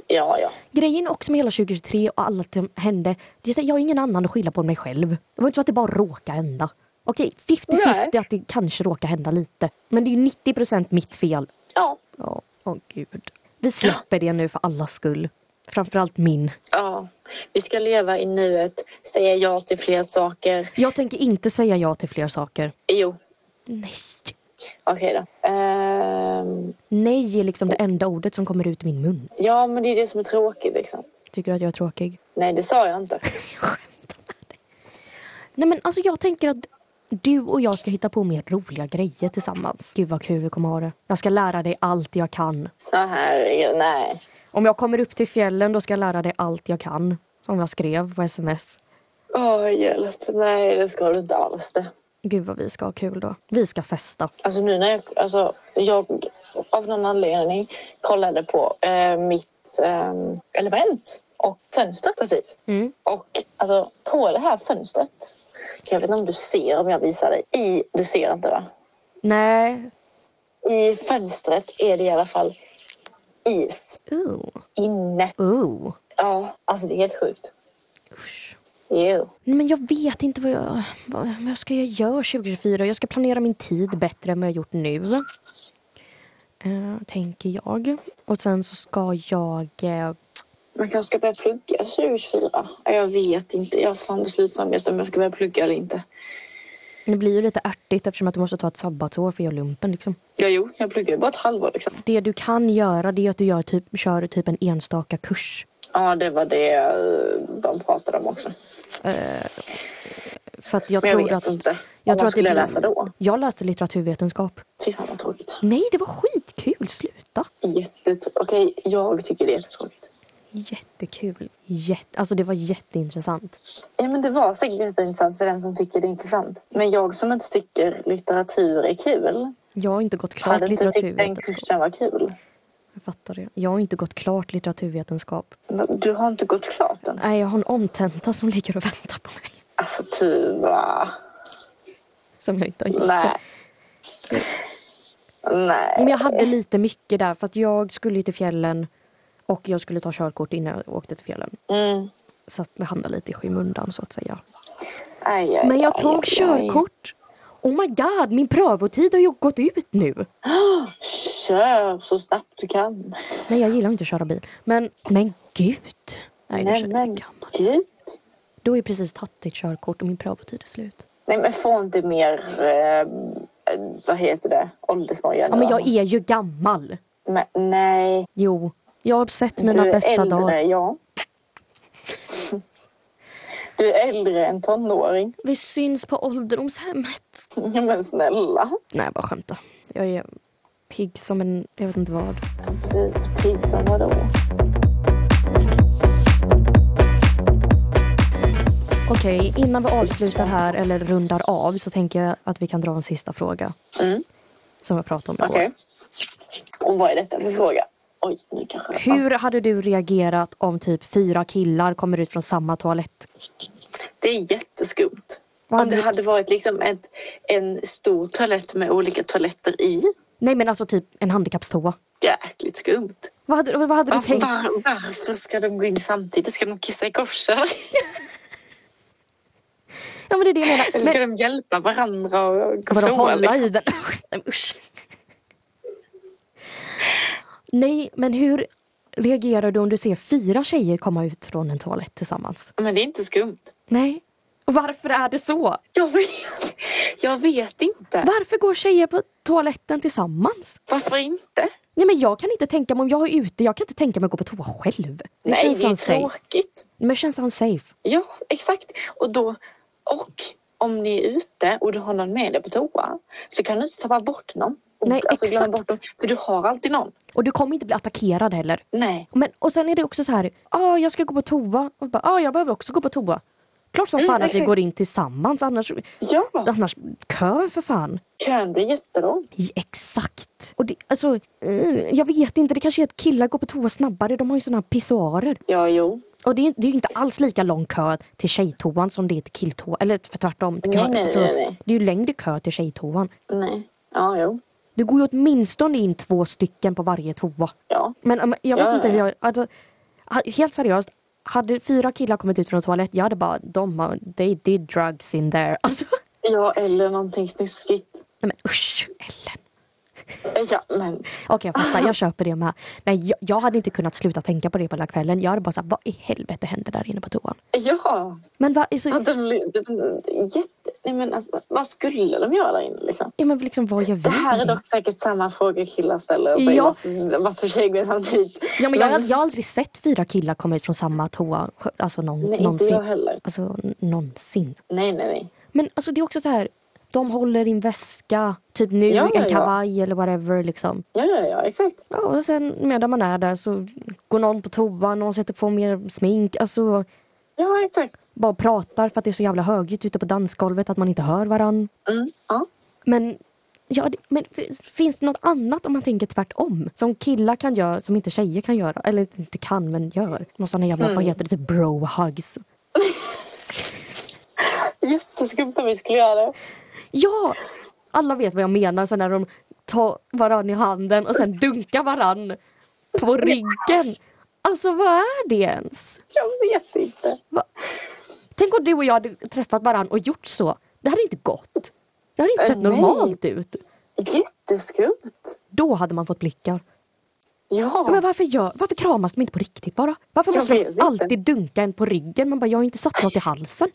Ja, ja. Grejen också med hela 2023 och allt som hände, det är så, här, jag har ingen annan att skylla på än mig själv. Det var inte så att det bara råkade hända. Okej, 50-50 Nej. att det kanske råkar hända lite. Men det är ju 90 mitt fel. Ja. Ja, åh gud. Vi släpper det nu för allas skull. Framförallt min. ja. Vi ska leva i nuet, säga ja till fler saker. Jag tänker inte säga ja till fler saker. Jo, Nej. okej då. Ehm, Nej är liksom det enda ordet som kommer ut i min mun. ja, men det är det som är tråkigt liksom. Tycker du att jag är tråkig? Nej, det sa jag inte. Jag skämtar med dig. Nej men alltså jag tänker att du och jag ska hitta på mer roliga grejer tillsammans. Gud vad kul vi kommer ha det. Jag ska lära dig allt jag kan. Så här, nej. Om jag kommer upp till fjällen då ska jag lära dig allt jag kan. Som jag skrev på sms. Åh, hjälp. Nej, det ska du inte alls det. Gud vad vi ska ha kul då. Vi ska festa. Alltså nu när jag, alltså, jag av någon anledning kollade på eh, mitt eh, element och fönster precis. Och alltså på det här fönstret, jag vet inte om du ser om jag visar dig, i, du ser inte va? Nej. I fönstret är det i alla fall is Ooh. inne. Ooh. Ja, alltså det är helt sjukt. Usch. Jo. Nej, Men jag vet inte vad jag, vad vad jag ska jag göra 2024. Jag ska planera min tid bättre än vad jag gjort nu. Eh, tänker jag. Och sen så ska jag... eh, Man kanske ska börja plugga 2024. Ja, Jag vet inte. Jag är fan beslutsam just om jag ska börja plugga eller inte. Det blir ju lite ärtigt eftersom att du måste ta ett sabbatsår för att göra lumpen. Liksom. Ja, jo, jag pluggar ju bara ett halvår liksom. Det du kan göra det är att du gör typ, kör typ en enstaka kurs. Ja, det var det eh, de pratade om också. För att jag Men jag tror vet att... inte. Jag Vad tror att det skulle jag blir- läsa då? Jag läste litteraturvetenskap. Fy fan vad tråkigt. Nej, det var skitkul. Sluta. Jättetråkigt. Okej, jag tycker det är tråkigt. Jättekul. Jätte, alltså det var jätteintressant. Ja, men det var säkert jätteintressant för den som tycker det är intressant. Men jag som inte tycker litteratur är kul Jag har inte gått klart hade inte tyckt den litteraturvetenskap. kursen var kul. Jag fattar det. Jag har inte gått klart litteraturvetenskap. Men Du har inte gått klart den. Nej, jag har en omtenta som ligger och väntar på mig. Alltså Tuva. Som jag inte har gjort. Nej. Nej. Men jag hade lite mycket där för att jag skulle ju till fjällen och jag skulle ta körkort innan jag åkte till fjällen. Mm. Så att det hamnade lite i skymundan så att säga. Aj, aj, Men jag aj, tog aj, aj. körkort. Oh my god, min prövotid har ju gått ut nu. Kör så snabbt du kan. Nej, jag gillar inte att köra bil. Men, men gud. Nej, nu Nej kör jag men gammal. gud. Du har ju precis tagit ditt körkort och min prövotid är slut. Nej men få inte mer, eh, eh, vad heter det, åldersnoja Ja, nu, men jag Anna. är ju gammal. Men, nej. Jo, jag har sett mina du är bästa äldre, dagar. ja. Du är äldre än tonåring. Vi syns på ålderdomshemmet. Ja, Men snälla. Nej, jag bara skämta. Jag är pigg som en... Jag vet inte vad. Precis, pigg som vadå? Okej, innan vi avslutar här eller rundar av så tänker jag att vi kan dra en sista fråga. Mm. Som jag pratade om igår. Okej. Och vad är detta för fråga? Oj, nu kanske jag... Hur hade du reagerat om typ fyra killar kommer ut från samma toalett? Det är jätteskumt. Vad Om det hade- hade varit liksom ett, en stor toalett med olika toaletter i. Nej men alltså typ en handikappstoa. Jäkligt skumt. Vad hade, vad hade du Varför, tänkt? var, varför ska de gå in samtidigt? Ska de kissa i korsar? Ja men det är det jag menar. Eller Men- ska de hjälpa varandra och gå Vadå på toa, hålla liksom? i den? Usch, nej, Usch. Nej, men hur reagerar du om du ser fyra tjejer komma ut från en toalett tillsammans? Men det är inte skumt. Nej. Och varför är det så? Jag vet, jag vet inte. Varför går tjejer på toaletten tillsammans? Varför inte? Nej men jag kan inte tänka mig om jag är ute, jag kan inte tänka mig att gå på toa själv. Det Nej, känns det är unsafe. tråkigt. Men känns unsafe. Ja, exakt. Och då, och om ni är ute och du har någon med dig på toa så kan du inte tappa bort någon. Nej, alltså, glömma exakt. Bort dem, för du har alltid någon. Och du kommer inte bli attackerad heller. Nej. Men, och sen är det också så här, ah, jag ska gå på toa. Och bara, ah, jag behöver också gå på toa. Klart som Mm, fan att vi exakt. går in tillsammans annars, Ja, annars kö för fan. kön blir jättelång. Ja, Exakt. Och det, alltså, eh, jag vet inte, det kanske är att killar går på toa snabbare. De har ju såna här pissoarer. Ja, jo. Och det är, det är ju inte alls lika lång kö till tjejtoan som det är till killtoan. Eller för tvärtom. Det, kan, Nej, nej, alltså, nej, nej. det är ju längre kö till tjejtoan. Nej. Ja, jo. Det går ju åtminstone in två stycken på varje toa. Ja. Men om- jag vet Ja, inte, ja, ja. jag, alltså, ha- helt seriöst. Hade fyra killar kommit ut från en toalett, jag hade bara, de har, they did drugs in there. Alltså, Ja, eller någonting snuskigt. nej men usch, Ellen. Ja, men Okej, jag fattar. Jag köper det med. Nej, jag, jag hade inte kunnat sluta tänka på det på hela kvällen. Jag hade bara sagt, vad i helvete hände där inne på toan? ja. Men, va, alltså, Hade de, de, jätte, nej, men alltså, vad skulle de göra där inne liksom? ja, men liksom, vad gör vi? Det här är där inne? dock säkert samma fråga killar ställer. Alltså, Ja. varför, varför tjejer går samtidigt. Ja, men jag, jag har aldrig sett fyra killar komma ut från samma toa. Alltså någon, Nej, någonsin. inte jag heller. Alltså n- någonsin. Nej, nej, nej. Men alltså, det är också så här, de håller i en väska, typ nu Ja, ja, en ja. kavaj eller whatever. Liksom. Ja, ja, ja, exakt. Ja, och sen medan man är där så går någon på toa, någon sätter på mer smink. Alltså, Ja, exakt. bara pratar för att det är så jävla högljutt ute på dansgolvet att man inte hör varann. Mm. Ja. Men, ja, det- men f- finns det något annat om man tänker tvärtom? Som killar kan göra, som inte tjejer kan göra. Eller inte kan, men gör. Någon sån här jävla, vad heter det, typ bro-hugs. Jätteskumt om vi skulle göra det. Ja! Alla vet vad jag menar. Sen när de tar varann i handen och sen dunkar varann på ryggen. Alltså vad är det ens? Jag vet inte. Va? Tänk om du och jag hade träffat varann och gjort så. Det hade inte gått. Det hade inte Eh, sett nej. normalt ut. Jätteskumt. Då hade man fått blickar. Ja. Ja, men varför, gör, varför kramas de inte på riktigt bara? Varför Jag måste vet de inte. alltid dunka en på ryggen? Man bara, jag har ju inte satt något i halsen.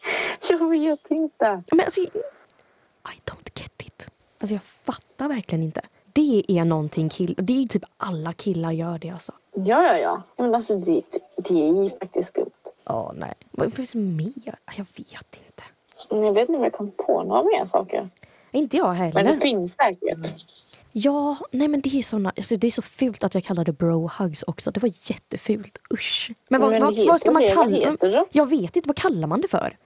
Jag vet inte. Ja, Men alltså, I don't get it. Alltså jag fattar verkligen inte. Det är någonting kill... Det är ju typ alla killar gör det alltså. Ja, ja, ja. Ja, Men alltså, det, det är ju faktiskt skumt. Ja, nej. Vad finns det mer? Jag vet inte. Men Jag vet inte om jag kom på några mer saker. Inte jag Men heller. det finns Mm. säkert. Ja, nej men det är, såna, alltså det är så fult att jag kallar det bro-hugs också. Det var jättefult. Usch. Men vad, Men vad, det vad ska heter man det, vad kalla heter det? Jag vet inte. Vad kallar man det för?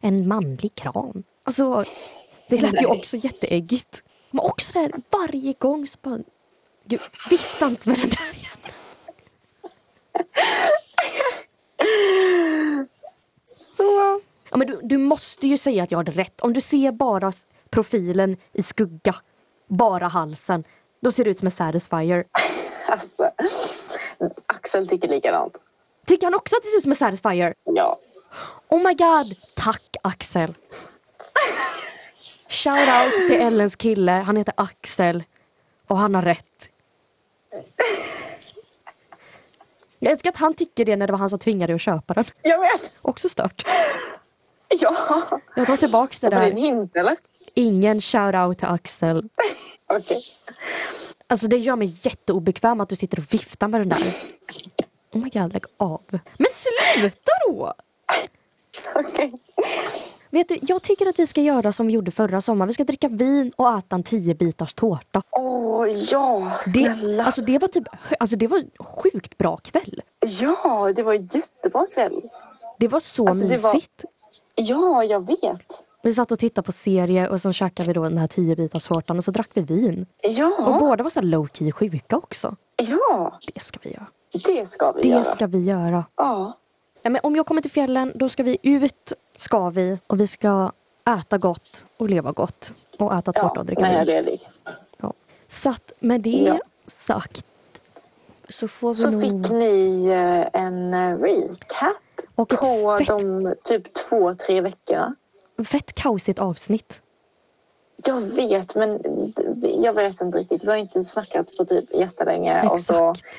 En manlig kram. Alltså, det lät ju Nej. också jätteäggigt. Men också det här, varje gång så bara... Gud, vifta inte med den där igen. Så. Ja, men du, du måste ju säga att jag hade rätt. Om du ser bara s- profilen i skugga, bara halsen, Då ser det ut som en Satisfyer. Alltså, Axel tycker likadant. Tycker han också att det ser ut som en Satisfyer? Ja. Oh my god! Tack Axel! Shout out till Ellens kille, han heter Axel. Och han har rätt. Jag älskar att han tycker det när det var han som tvingade dig att köpa den. Jag vet! Också stört. alltså, Ja! Jag tar tillbaks det Var det en där. hint eller? Ingen shout out till Axel. Okej. Alltså det gör mig jätteobekväm att du sitter och viftar med den där. Oh my god, lägg av. Men sluta då! Okej. Vet du, jag tycker att vi ska göra som vi gjorde förra sommaren. Vi ska dricka vin och äta en 10 bitars tårta. Åh, ja! Det, Snälla! alltså det var typ, alltså det var sjukt bra kväll. Ja, det var en jättebra kväll. Det var så Alltså, det var- mysigt. Ja, jag vet. Vi satt och tittade på serie och så käkade vi då den här 10 bitars tårtan och så drack vi vin. Och Ja, båda var så här low key sjuka också. ja. Det ska vi göra. Det ska vi göra. Det ska vi göra. Ja. Ja, men om jag kommer till fjällen, då ska vi ut, ska vi. Och vi ska äta gott och leva gott. Och äta tårta ja. och dricka När jag är vin. ledig. Ja. Så att med det Ja. sagt så får vi Så nog... fick ni eh, en eh, recap Och ett på fett- de typ två, tre veckorna. Fett kaosigt avsnitt. Jag vet, men d- jag vet inte riktigt. Vi har inte snackat på typ jättelänge. Och så Exakt.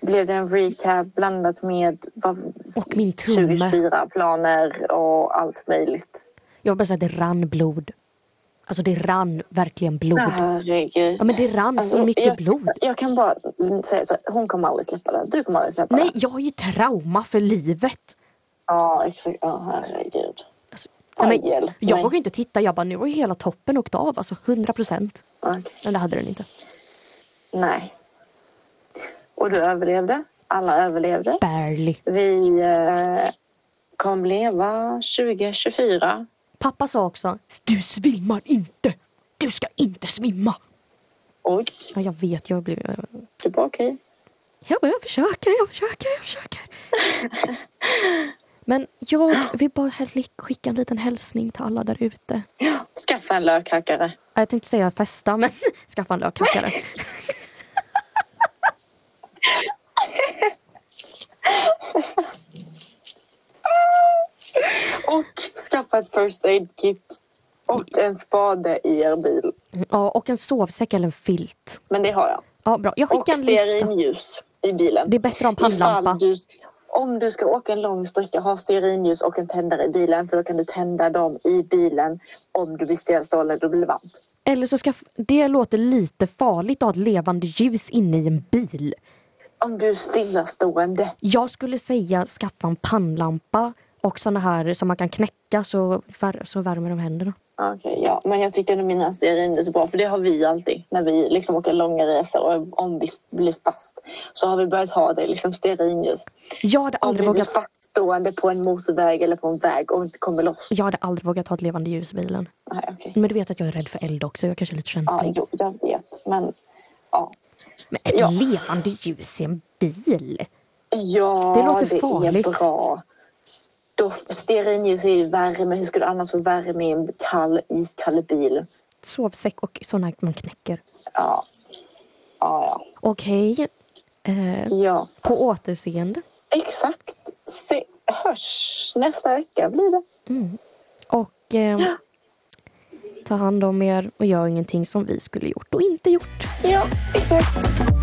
blev det en recap blandat med vad, Och min tumme. 24 planer och allt möjligt. Jag vill bara säga att det rann blod. Alltså det rann verkligen blod. Herregud. Ja, men det rann så mycket Alltså, jag, blod. Jag kan bara säga så här, hon kommer aldrig släppa den. Du kommer aldrig släppa Nej, den. jag har ju trauma för livet. Ja, exakt. Ja, herregud. Alltså, nej, Aj, men, hjälp jag mig. vågar ju inte titta. Jag bara, nu har ju hela toppen åkt av. Alltså 100 procent. Okej. Men det hade den inte. Nej. Och du överlevde. Alla överlevde. Barely. Vi eh, kommer leva 2024. Pappa sa också, du svimmar inte. Du ska inte svimma. Oj, Ja, jag vet. Jag blev... Jag, det var okej. jag, bara, jag försöker, jag försöker, jag försöker. Men jag vill bara hel- skicka en liten hälsning till alla där ute. Skaffa en lökhackare. Ja, Jag tänkte säga festa, men skaffa en lökhackare. Och skaffa ett first aid kit. Och en spade i er bil. Ja, och en sovsäck eller en filt. Men det har jag. Ja, bra. Jag Och skickar en lista. stearinljus i bilen. Det är bättre att ha en Ifall pannlampa. Du, om du ska åka en lång sträcka, ha stearinljus och en tändare i bilen. För då kan du tända dem i bilen om du blir stelstående och blir varmt. Eller så ska... Det låter lite farligt att ha ett levande ljus inne i en bil. Om du är stillastående. Jag skulle säga skaffa en pannlampa och såna här som man kan knäcka så, vär- så värmer de händerna. Okej, ja. Men jag tyckte ändå mina stearin är så bra. För det har vi alltid när vi liksom åker långa resor och om vi blir fast så har vi börjat ha det liksom stearinljus. Jag hade Om vi aldrig, blir vågat, faststående på en motorväg eller på en väg och inte kommer loss. jag hade aldrig vågat ha ett levande ljus i bilen. Nej, okej. Men du vet att jag är rädd för eld också. Jag kanske är lite Ja, känslig. jo, jag vet. Men ja. Men ett Ja. levande ljus i en bil? Ja, Det låter det farligt. är bra. Då stearinljus är ju värme. Hur ska du annars få värme i en kall, iskall bil? Sovsäck och såna här man knäcker. Ja. Ja, Okej. Eh, ja. ja. på återseende. Exakt. Se, hörs nästa vecka blir det. Och eh, ta hand om er och gör ingenting som vi skulle gjort och inte gjort. Ja, exakt.